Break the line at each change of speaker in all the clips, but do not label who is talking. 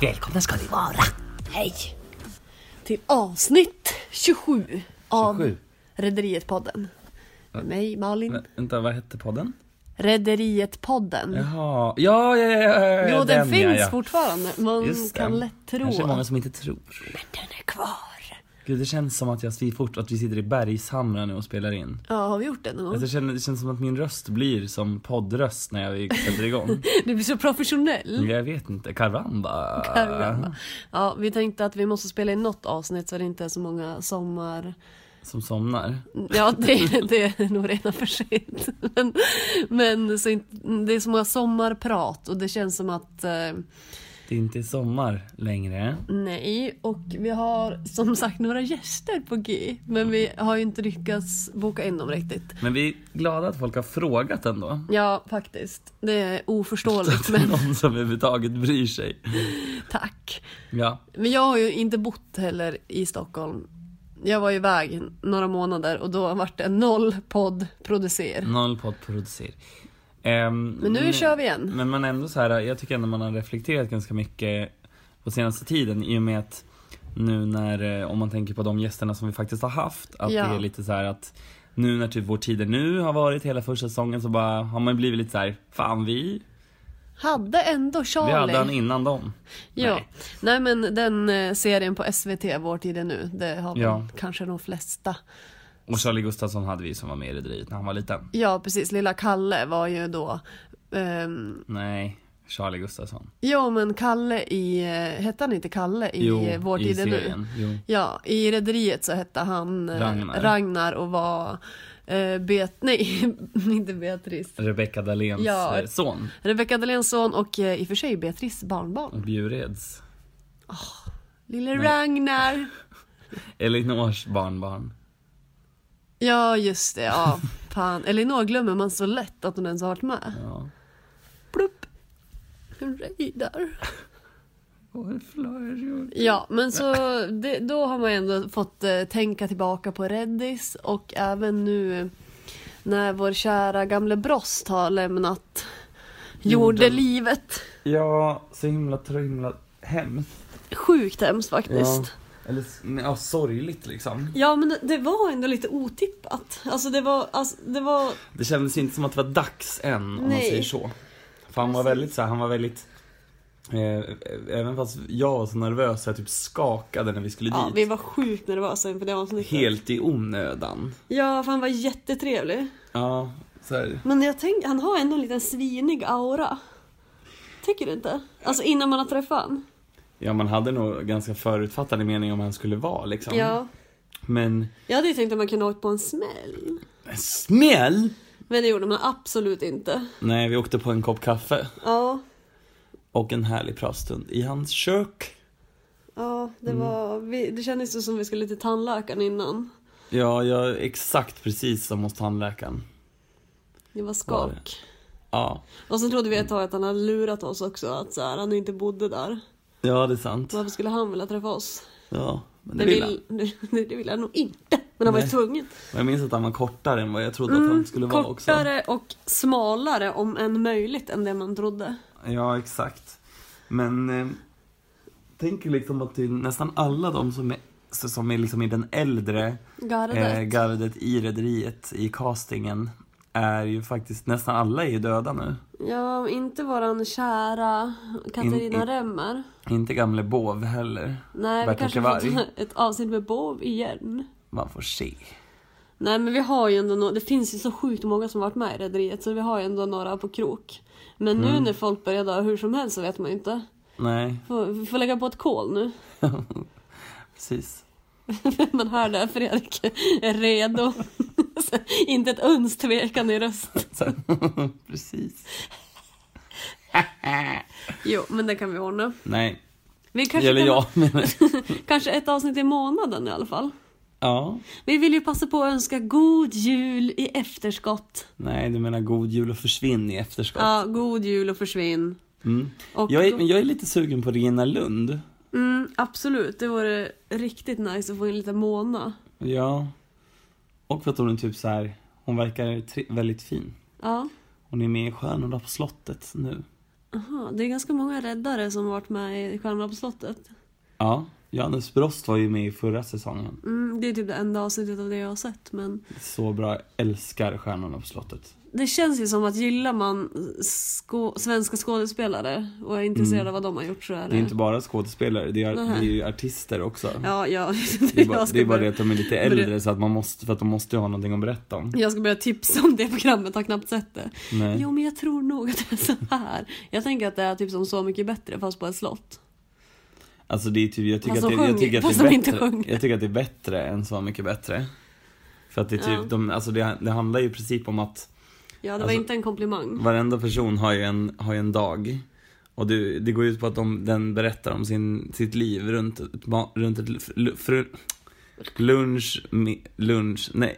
Välkomna ska ni vara!
Hej! Till avsnitt 27 av
27.
Rederiet-podden. Med mig, Malin.
Vä- Vänta, Eh, vad hette podden?
Mm. Rederiet-podden.
Jaha, ja, ja, ja, ja,
Jo,
ja
den,
ja,
finns
ja.
fortfarande. Man
Just det.
kan lätt tro
Kanske många
att
som inte tror.
den är kvar.
Gud, det känns som att jag vi fort, att vi sitter i Bergshamra nu och spelar in.
Ja, har vi gjort det någon
Alltså,
gång?
det, känns, det känns som att min röst blir som poddröst när jag sätter igång.
Du blir så professionell.
jag vet inte, karamba.
Karamba. Ja, vi tänkte att vi måste spela in något avsnitt så det inte är så många sommar...
Som somnar.
Ja, det, det är nog redan för sent. Men, men så inte, det är så många sommarprat och det känns som att eh,
Det är inte sommar längre.
Nej, och vi har som sagt några gäster på G. Men vi har ju inte lyckats boka in dem riktigt.
Men vi är glada att folk har frågat ändå.
Ja, faktiskt. Det är
Att
oförståeligt,
det är
men
någon som överhuvudtaget bryr sig.
tack.
Ja,
Men jag har ju inte bott heller i Stockholm. Jag var iväg några månader och då vart det noll podd producer.
noll podd producer. Ehm,
Men nu kör vi igen.
Men man är ändå så här, jag tycker ändå man har reflekterat ganska mycket på senaste tiden i och med att nu när, eh, om man tänker på de gästerna som vi faktiskt har haft, att
Ja.
det är lite så här att nu när typ vår tid är nu har varit hela första säsongen så bara har man blivit lite så här, fan vi,
Hade ändå
vi
Charlie.
hade han innan dem.
Ja.
Nej.
Nej. men den eh, serien på SVT, Vår tid är nu, det har väl
Ja.
kanske de flesta.
Och Charlie Gustafsson hade vi som var med i Rederiet när han var liten.
Ja, precis. Lilla Kalle var ju då ehm,
Nej, Charlie Gustafsson.
Ja men Kalle i, eh, hette han inte Kalle i jo, Vår
i
tid är nu?
serien. Jo.
Ja, i Rederiet så hette han eh,
Ragnar.
Ragnar och var eh, Bet, nej, inte Beatrice.
Rebecca Dahléns
Ja.
eh, son,
Rebecca Dahléns son och eh, i och för sig Beatrice barnbarn.
Bjureds.
Lille Ragnar.
Elinors barnbarn.
Ja just det, ja. Fan, Elinor glömmer man så lätt att hon ens har varit med.
Ja.
Plupp. Radar.
Vårflöjor.
Ja, men så det, då har man ändå fått eh, tänka tillbaka på Reddis och även nu när vår kära gamle Brost har lämnat jordelivet.
Ja, så himla, så himla hemskt.
Sjukt hemskt faktiskt.
Ja. Eller s- ja, sorgligt liksom.
Ja men det, det var ändå lite otippat. Alltså det var, alltså, det var,
Det kändes inte som att det var dags än om man
Nej.
säger så. För han var väldigt så här, han var väldigt Eh, även fast jag var så nervös så jag typ skakade när vi skulle
ja,
dit.
vi var sjukt nervösa inför det avsnittet.
Helt i onödan.
Ja för han var jättetrevlig.
Ja, så här.
Men jag tänk, han har ändå en liten svinig aura. Tycker du inte? Alltså innan man har träffat han.
Ja, man hade nog ganska förutfattade mening om han skulle vara liksom.
Ja.
Men
Jag hade ju tänkt att man kunde åkt på en smäll.
smäll!
Men det gjorde man absolut inte.
Nej, vi åkte på en kopp kaffe
Ja,
och en härlig pratstund i hans kök.
ja det,
Mm.
var, vi, det kändes ju som vi skulle till tandläkaren innan.
Ja, jag exakt precis som hos tandläkaren.
Det var
Var det?
skak.
Ja,
Och så trodde vi ett tag att han hade lurat oss också, att så här, han inte bodde där.
ja det är sant.
Varför skulle han vilja träffa oss?
Ja, men det
Det
vill han.
vill, det, det vill han nog inte. Men han var ju
Nej.
tvungen. Mm.
Men Jag minns att han var kortare än vad jag trodde att han skulle vara också.
Kortare och smalare om än möjligt än det man trodde.
Ja, exakt. Men eh, tänk ju liksom att det är nästan alla de som är, så- som är liksom i den äldre
Gardet.
eh, gardet i rederiet, i castingen, är ju faktiskt, nästan alla är ju döda nu.
Ja, inte våran kära Katarina
In- in-
Remmer.
Inte gamle Bov heller.
Nej, vi
Bert-Åke
kanske får
Varg.
ta ett avsnitt med Bov igen.
Man får se.
Nej men vi har ju ändå några, det finns ju så sjukt många som varit med i Rederiet så vi har ju ändå några på krok. Men nu
Mm.
när folk börjar dö hur som helst så vet man ju inte.
Nej,
Får, vi får lägga på ett kol nu.
precis.
Man hör där Fredrik är redo. Så, inte ett uns tvekan i röst.
Så- precis.
Jo men det kan vi ordna.
Nej,
Vi kanske,
eller
kan,
jag menar jag.
kanske ett avsnitt i månaden i alla fall.
Ja.
Vi vill ju passa på att önska god jul i efterskott.
Nej, du menar god jul och försvinn i efterskott.
Ja, god jul och försvinn.
Mm.
Och
Jag, är, men jag är lite sugen på Regina Lund.
mm, absolut, det vore riktigt nice att få in lite Mona.
Ja. Och för att hon är typ så här, hon verkar tri- väldigt fin.
Ja.
Hon är med i Stjärnorna på slottet nu.
Aha, det är ganska många räddare som varit med i Stjärnorna på slottet.
Ja, Johannes Brost var ju med i förra säsongen.
Mm, det är typ det enda avsnittet av det jag har sett men
Så bra, jag älskar Stjärnorna på slottet.
det känns ju som att gillar man skå- svenska skådespelare och är intresserad av vad de har gjort så är
Mm. Det är inte bara skådespelare, det är, det är ju artister också.
Ja, ja,
Det är, bara,
jag,
det är
ska
bara det
börja,
att de är lite äldre så att man måste, för att de måste ju ha någonting att berätta om.
jag ska börja tipsa om det programmet, har knappt sett det.
Nej.
Jo men jag tror nog att det är så här. Jag tänker att det är typ som Så mycket bättre fast på ett slott.
Alltså det är typ, jag tycker
Fast
att det,
de
jag
sjunger,
tycker att
fast
det
de
är
inte
bättre.
sjunger.
Jag tycker att det är bättre än Så mycket bättre. För att det är typ,
Ja.
de, alltså det, det handlar ju i princip om att
Ja det var
Alltså-
inte en komplimang.
Varenda person har ju en, har ju en dag. Och det, det går ut på att de, den berättar om sin, sitt liv runt, ett ba- runt ett lu- lu- fru, lunch, mi, lunch, nej.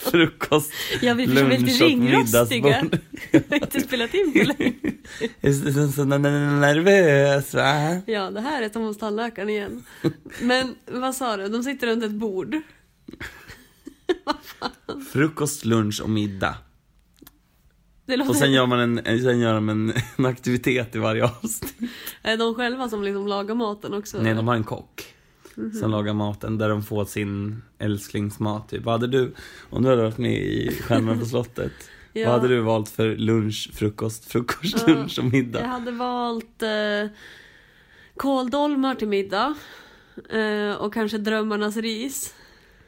Frukost,
Ja vi försöker vara
lunch
lite
och
ringrostiga.
middagsbord.
Vi har inte spelat in på länge.
Är så nervös va?
Ja det här är som hos tandläkaren igen. Men vad sa du, de sitter runt ett bord.
Frukost, lunch och middag.
Det låter...
Och sen gör man en, en- sen gör de en, en aktivitet i varje avsnitt.
Är de själva som liksom lagar maten också?
Nej, de har en kock som lagar maten där de får sin älsklingsmat. Typ. Vad hade du, om du hade varit med i Stjärnorna på slottet,
Ja.
vad hade du valt för lunch, frukost, frukost,
Ja.
lunch och
Jag
middag?
hade valt eh, kåldolmar till middag. Eh, och kanske drömmarnas ris.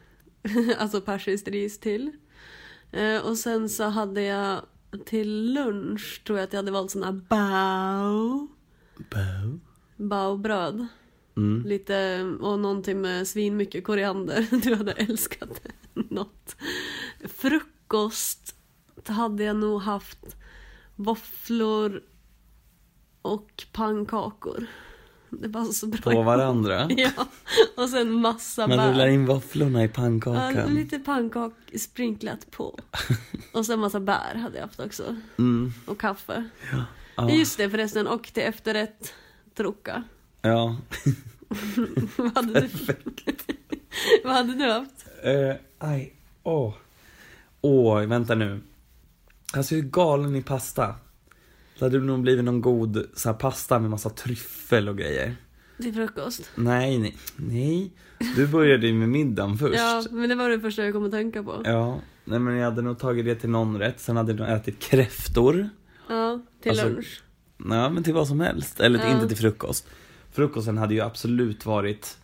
alltså persiskt ris till. Eh, och sen så hade jag till lunch tror jag att jag hade valt sån här bao.
Bow.
Baobröd.
Mm.
Lite, och någonting med svinmycket koriander. Du hade älskat något. Frukost hade jag nog haft våfflor och pannkakor. Det var så bra.
På varandra.
Ja, och sen massa
Man rullar
bär.
in våfflorna i
Ja,
pannkakan.
lite pannkak sprinklat på. Och sen massa bär hade jag haft också.
Mm.
Och kaffe.
Ja.
Just det förresten, och till efterrätt troka.
Ja.
Vad hade du, vad hade du haft?
Eh, aj. Åh. Åh, vänta nu. Alltså jag är galen i pasta. Det hade nog blivit någon god så här, pasta med massa tryffel och grejer.
Till frukost?
Nej, nej, nej. Du började ju med middagen först.
Ja,
Ja.
men det var det första jag kom att tänka på.
Nej men jag hade nog tagit det till någon rätt, sen hade jag nog ätit kräftor.
Ja, till
Alltså-
lunch.
Ja men till vad som helst, eller
Ja.
inte till frukost. Frukosten hade ju absolut varit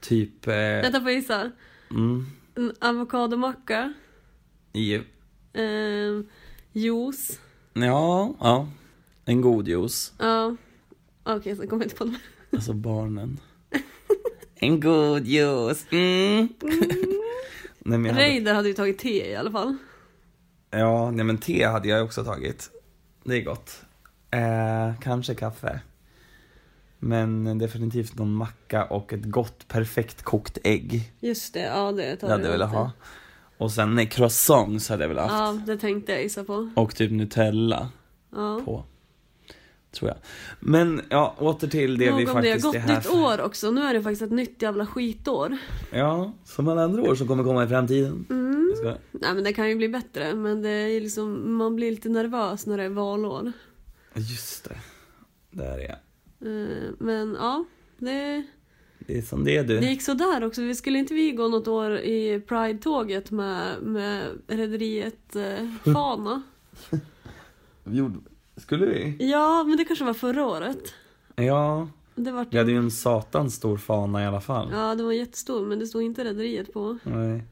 typ... Eh,
Vänta, får jag gissa?
mm,
En avokadomacka,
i,
eh, juice.
ja, ja. En god juice.
Ja. Okej, sen kommer jag inte på något.
Alltså barnen. en god juice. Mm. nej, men jag hade,
Reider hade ju tagit te i alla fall.
ja, nej men te hade jag också tagit. Det är gott. Eh, kanske kaffe. Men definitivt någon macka och ett gott perfekt kokt ägg.
Just det, ja det tar
Det hade jag velat ha. Och sen nej, croissants hade jag velat ha.
Ja, det tänkte jag gissa på.
Och typ Nutella
Ja.
på. Tror jag. Men ja, åter till det
Nog om
vi
det,
faktiskt
gott
är här
nytt
för.
år också. Nu är det faktiskt ett nytt jävla skitår.
Ja, som alla andra år som kommer komma i framtiden.
Mm.
Jag ska...
Nej men det kan ju bli bättre, men det är ju liksom, man blir lite nervös när det är valår.
Just det. Där är jag.
Eh, Men ja, det...
Det är som det är du.
Det gick sådär också. Vi skulle inte vi gå något år i Pride-tåget med, med rederiet eh,
Mm.
Fana?
Vi gjorde... Skulle vi?
Ja, men det kanske var förra året.
Ja,
Det var
vi hade ju en satans stor fana i alla fall.
Ja, det var jättestor, men det stod inte rederiet på.
Nej.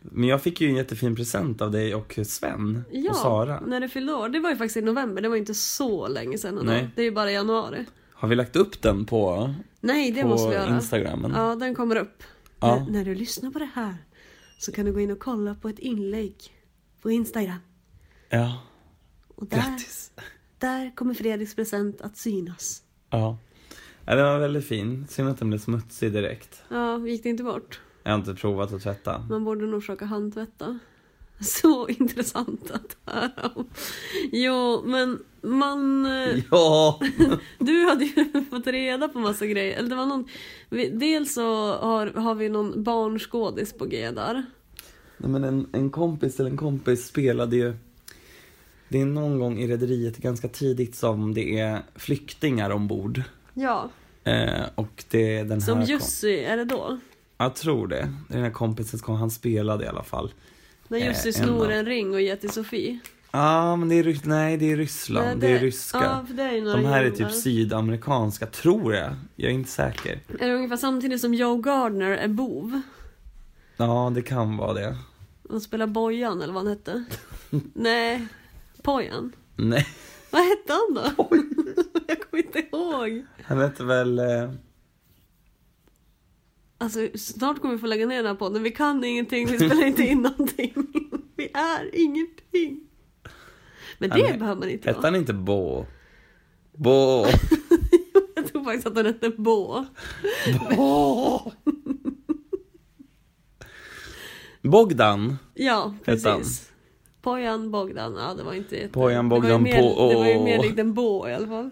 Men jag fick ju en jättefin present av dig och Sven
Ja,
och Sara.
när det fyllde år. Det var ju faktiskt i november, det var ju inte så länge sedan. ändå.
Nej.
Det är ju bara januari.
Har vi lagt upp den på,
Nej, det måste
på
vi göra.
Instagramen?
Ja, den kommer upp.
Ja.
När, när du lyssnar på det här så kan du gå in och kolla på ett inlägg på Instagram.
Ja,
Och där,
grattis.
där kommer Fredriks present att synas.
Ja. ja. Den var väldigt fin. Synd att den blev smutsig direkt.
Ja, gick det inte bort?
Jag har inte provat att tvätta.
Man borde nog försöka handtvätta. Så intressant att höra om. Jo, men man... eh,
Ja!
Du hade ju fått reda på massa grejer. Eller det var någon, vi- dels så har, har vi någon barnskådis på G där.
Nej, men en, en kompis till en kompis spelade ju Det är någon gång i rederiet ganska tidigt som det är flyktingar ombord.
Ja,
Eh, och det är den
som
här
Jussi, är det då?
Kom- jag tror det. Det är den här kompisen som han spelade i alla fall.
När
Eh,
Jussi
en
snor
av-
en ring och ger till Sofie.
Ja, men det är, Rys- nej, det är Ryssland.
Nej,
det... är ryska.
Ja, för det är ju några
De här är
judar.
typ sydamerikanska, tror jag. Jag är inte säker.
Är det ungefär samtidigt som Joe Gardner är bov?
Ja, det kan vara det.
Han spelar Bojan eller vad han hette. Nej, Pojan.
Nej,
Vad hette han då? Jag kommer inte ihåg.
han hette väl... eh,
Alltså snart kommer vi få lägga ner den här podden. Vi kan ingenting, vi spelar inte in någonting. Vi är ingenting. Men det
Han he-
behöver man inte
Hette
vara.
han inte Bo? Bo!
Jag tror faktiskt att han hette Bo.
Bo! Bogdan.
Ja,
Hette han?
precis. Pojan Bogdan, ja det var inte jätte...
Pojan
det var
Bogdan
ju mer,
Po-
Det var ju mer
åh.
likt en Bo i alla fall.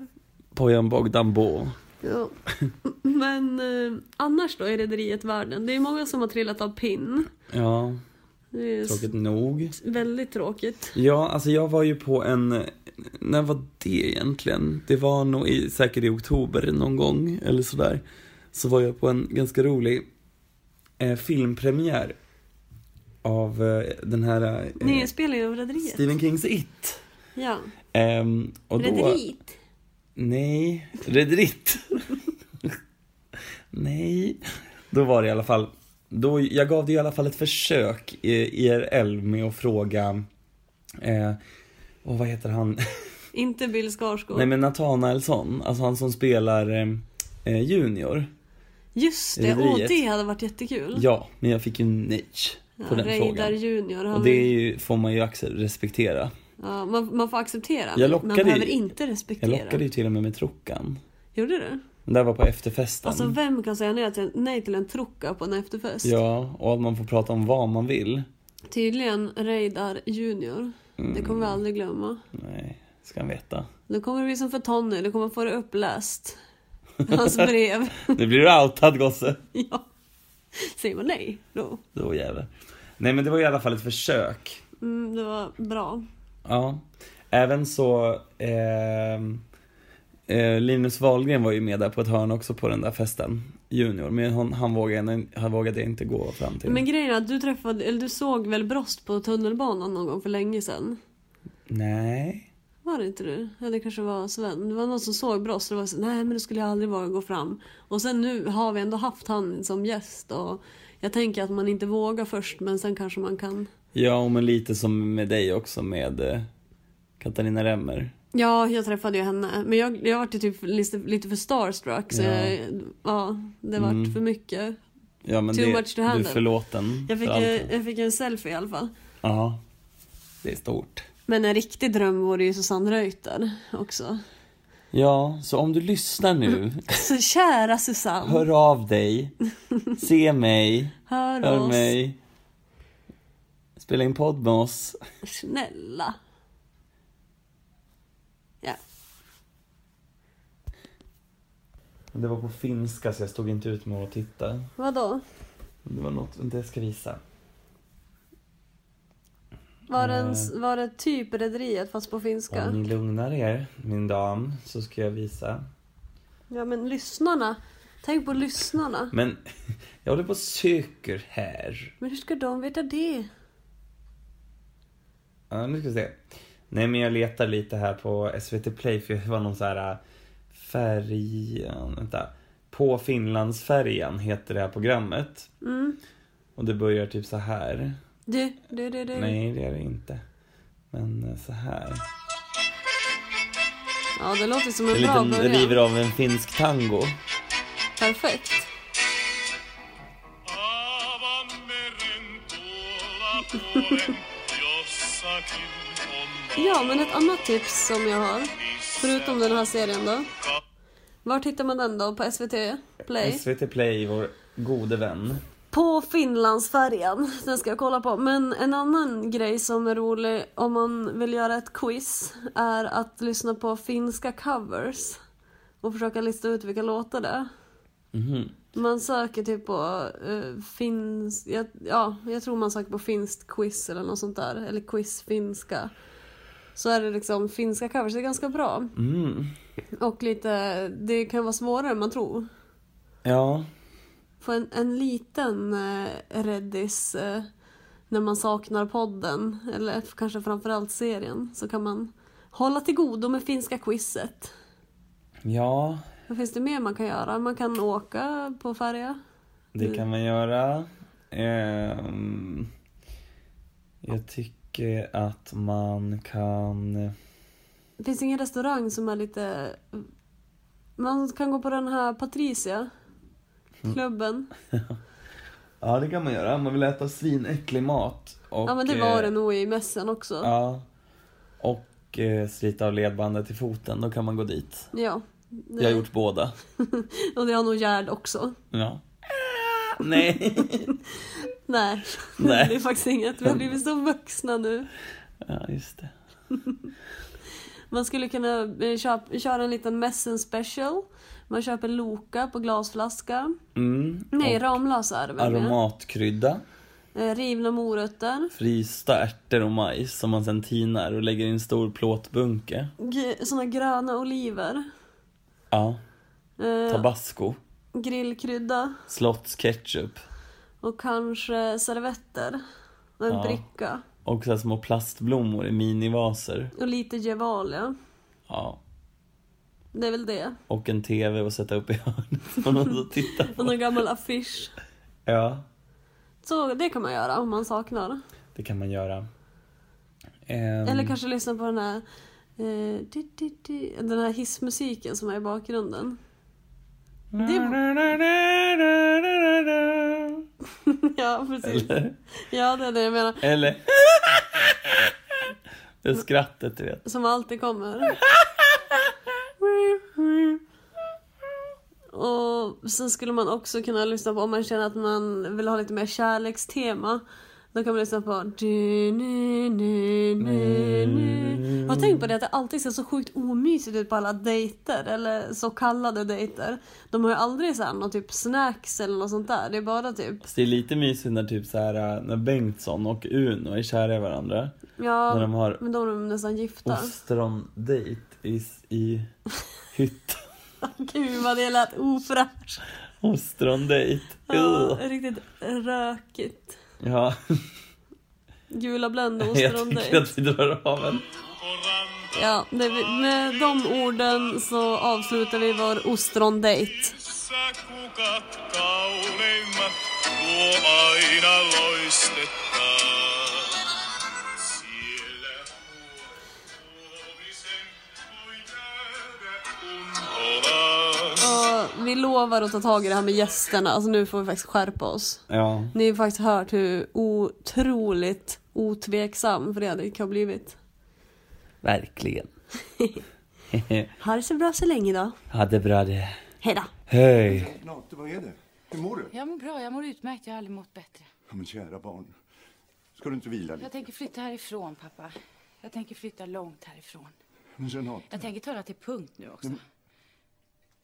Pojan Bogdan Bo.
Ja. Men eh, annars då i Rederiet Världen? Det är många som har trillat av pinn.
Ja,
Det är s-
tråkigt nog.
väldigt tråkigt.
Ja, alltså jag var ju på en... När var det egentligen? Det var nog i, säkert i oktober någon gång eller sådär. Så var jag på en ganska rolig eh, filmpremiär av eh, den här eh,
Nyinspelningen av Rederiet.
Stephen Kings It.
Ja.
Ehm, och då,
Rederiet.
Nej, Rederitt. nej, då var det i alla fall. Då, jag gav det i alla fall ett försök i IRL med att fråga, eh, och vad heter han?
Inte Bill Skarsgård.
Nej men Nathanaelsson, alltså han som spelar eh, eh, Junior.
Just det, åh
Rederiet.
det hade varit jättekul.
Ja, men jag fick ju nej på den
Reidar
frågan.
Junior. Han
Och det är ju, får man ju axel- respektera.
ja, man, man får acceptera. men
Jag
man
lockade
behöver
ju-
inte respektera.
Jag lockade ju till och med med Trockan.
Gjorde du?
Det där var på efterfesten.
Alltså vem kan säga nej till, nej till en trocka på en efterfest?
Ja, och att man får prata om vad man vill.
Tydligen Reidar Junior. Det kommer
Mm.
vi aldrig glömma.
Nej, ska han veta.
Då kommer det bli som för Tony, du kommer få det uppläst. Hans brev.
Nu blir du outad gosse.
ja. Säger man nej då?
Då jävlar. Nej men det var i alla fall ett försök.
Mm, det var bra.
Ja. Även så, ehm, eh, Linus Wahlgren var ju med där på ett hörn också på den där festen. Junior, men hon, han, vågade, han vågade inte gå fram till.
Men grejen är att du träffade, eller du såg väl Brost på tunnelbanan någon gång för länge sedan?
Nej.
Var det inte du? Ja, det kanske var Sven. Det var någon som såg Brost och var så, nej men då skulle jag aldrig våga gå fram. Och sen nu har vi ändå haft han som gäst och jag tänker att man inte vågar först men sen kanske man kan.
Ja, och men lite som med dig också med eh, Katarina Remmer.
Ja, jag träffade ju henne. Men jag, jag vart ju typ lite, lite för starstruck så
Ja.
jag, ja, det vart
Mm.
för mycket.
Ja men
Too
det,
much to
du är
handle.
förlåten
Jag fick,
för allt.
eh, jag fick en selfie i alla fall.
Ja. Det är stort.
Men en riktig dröm vore ju Susanne Reuter också.
Ja, så om du lyssnar nu
Så kära Susanne, hör,
Hör av dig. Se mig. Hör
oss.
mig. Spela in podd med oss.
Snälla. Ja.
Det var på finska så jag stod inte ut med att titta.
Vadå?
Det var något, inte jag ska visa.
Var, det
Eh.
en, var det typ Rederiet fast på finska?
Om ni lugnar er, min dam, så ska jag visa.
Ja men lyssnarna. Tänk på lyssnarna.
Men jag håller på och söker här.
Men hur ska de veta det?
Ja, nu ska vi se. Nej men jag letar lite här på SVT Play för det var någon så här äh, färjan, vänta. På Finlandsfärjan heter det här programmet.
Mm.
Och det börjar typ så här.
Du, du, du, du.
Nej, det är det inte. Men eh, så här.
Ja det låter som
En
en bra
liten river
början.
av en finsk tango.
Perfekt.
Avameren tuolla puolen jossakin on
Ja men ett annat tips som jag har. Förutom den här serien då. Vart hittar man den då? På SVT Play?
SVT Play, vår gode vän.
På Finlandsfärjan. Den ska jag kolla på. Men en annan grej som är rolig om man vill göra ett quiz är att lyssna på finska covers och försöka lista ut vilka låtar det är.
Mhm.
Man söker typ på uh, finsk... Ja, jag tror man söker på finskt quiz eller något sånt där. Eller quiz finska. Så är det liksom finska covers, det är ganska bra.
Mm.
Och lite, det kan vara svårare än man tror.
Ja,
På en, en liten eh, Reddis eh, när man saknar podden, eller f- kanske framförallt serien, så kan man hålla till godo med finska quizet.
ja,
Vad finns det mer man kan göra? Man kan åka på färja.
det kan man göra. Ehm, jag tycker att man kan...
Det finns ingen restaurang som är lite... Man kan gå på den här Patricia.
Mm.
Klubben.
Ja, det kan man göra. Man vill äta svinäcklig mat. Och,
ja men det var
eh,
det nog i mässan också. Ja.
Ja. Och eh, slita av ledbandet i foten, då kan man gå dit.
Det-
Jag har gjort båda.
Och det har nog Gerd också.
Ja. Nej.
Nej.
Nej.
det är faktiskt inget. Vi har blivit så vuxna nu.
Ja, just det.
Man skulle kunna eh, köp, köra en liten mässen special. Man köper Loka på glasflaska.
Mm.
Nej,
och
Ramlösa är det väl? med?
aromatkrydda,
Eh, Rivna morötter.
frysta ärtor och majs som man sen tinar och lägger i en stor plåtbunke.
G- såna gröna oliver.
Ja.
Eh,
Tabasco,
grillkrydda.
slottsketchup
Och kanske servetter. Och en
Ja.
bricka.
och så här små plastblommor i minivaser.
Och lite Gevalia.
Ja.
Det är väl det.
Och en TV och sätta upp i hörnet som man så tittar
Och
på.
någon gammal affisch.
Ja,
Så det kan man göra om man saknar.
det kan man göra. Ehm,
Eller kanske lyssna på den här eh, di, di, di, den här hissmusiken som är i bakgrunden.
Mm.
ja, precis.
Eller?
Ja, det är det jag menar.
Eller... Det skrattet, du vet.
Som alltid kommer. Och sen skulle man också kunna lyssna på, om man känner att man vill ha lite mer kärlekstema, då kan man lyssna på... Har du tänkt på det att det alltid ser så sjukt omysigt ut på alla dejter, eller så kallade dejter? De har ju aldrig så här någon typ snacks eller något sånt där, det är bara typ...
Fast det är lite mysigt när typ så här, när Bengtsson och Uno är kära i varandra. När
Ja,
de har
men då är de nästan gifta.
ostrondejt i, i hytten.
Gud vad det lät ofräscht.
Ostrondejt.
Ja,
Ugh.
riktigt rökigt.
Ja,
Gula Blend och
jag tycker
ostrondejt.
att vi drar av en.
Ja, det, med de orden så avslutar vi vår ostrondejt.
Missä kukat kauneimmat, tuo aina loistetaan. Siellä huomisen voi nähdä, kun ollaan.
Och vi lovar att ta tag i det här med gästerna, alltså nu får vi faktiskt skärpa oss.
Ja,
Ni har faktiskt hört hur otroligt otveksam Fredrik har blivit.
verkligen.
Ha det så bra så länge då.
Ha det bra det.
Hejdå!
Hej.
Renate, vad är det? Hur mår du? Ja,
Jag mår bra, jag mår utmärkt. Jag har aldrig mått bättre.
men kära barn. Ska du inte vila
Jag
lite?
tänker flytta härifrån, pappa. Jag tänker flytta långt härifrån.
Men Renate,
Jag tänker ta det till punkt nu också.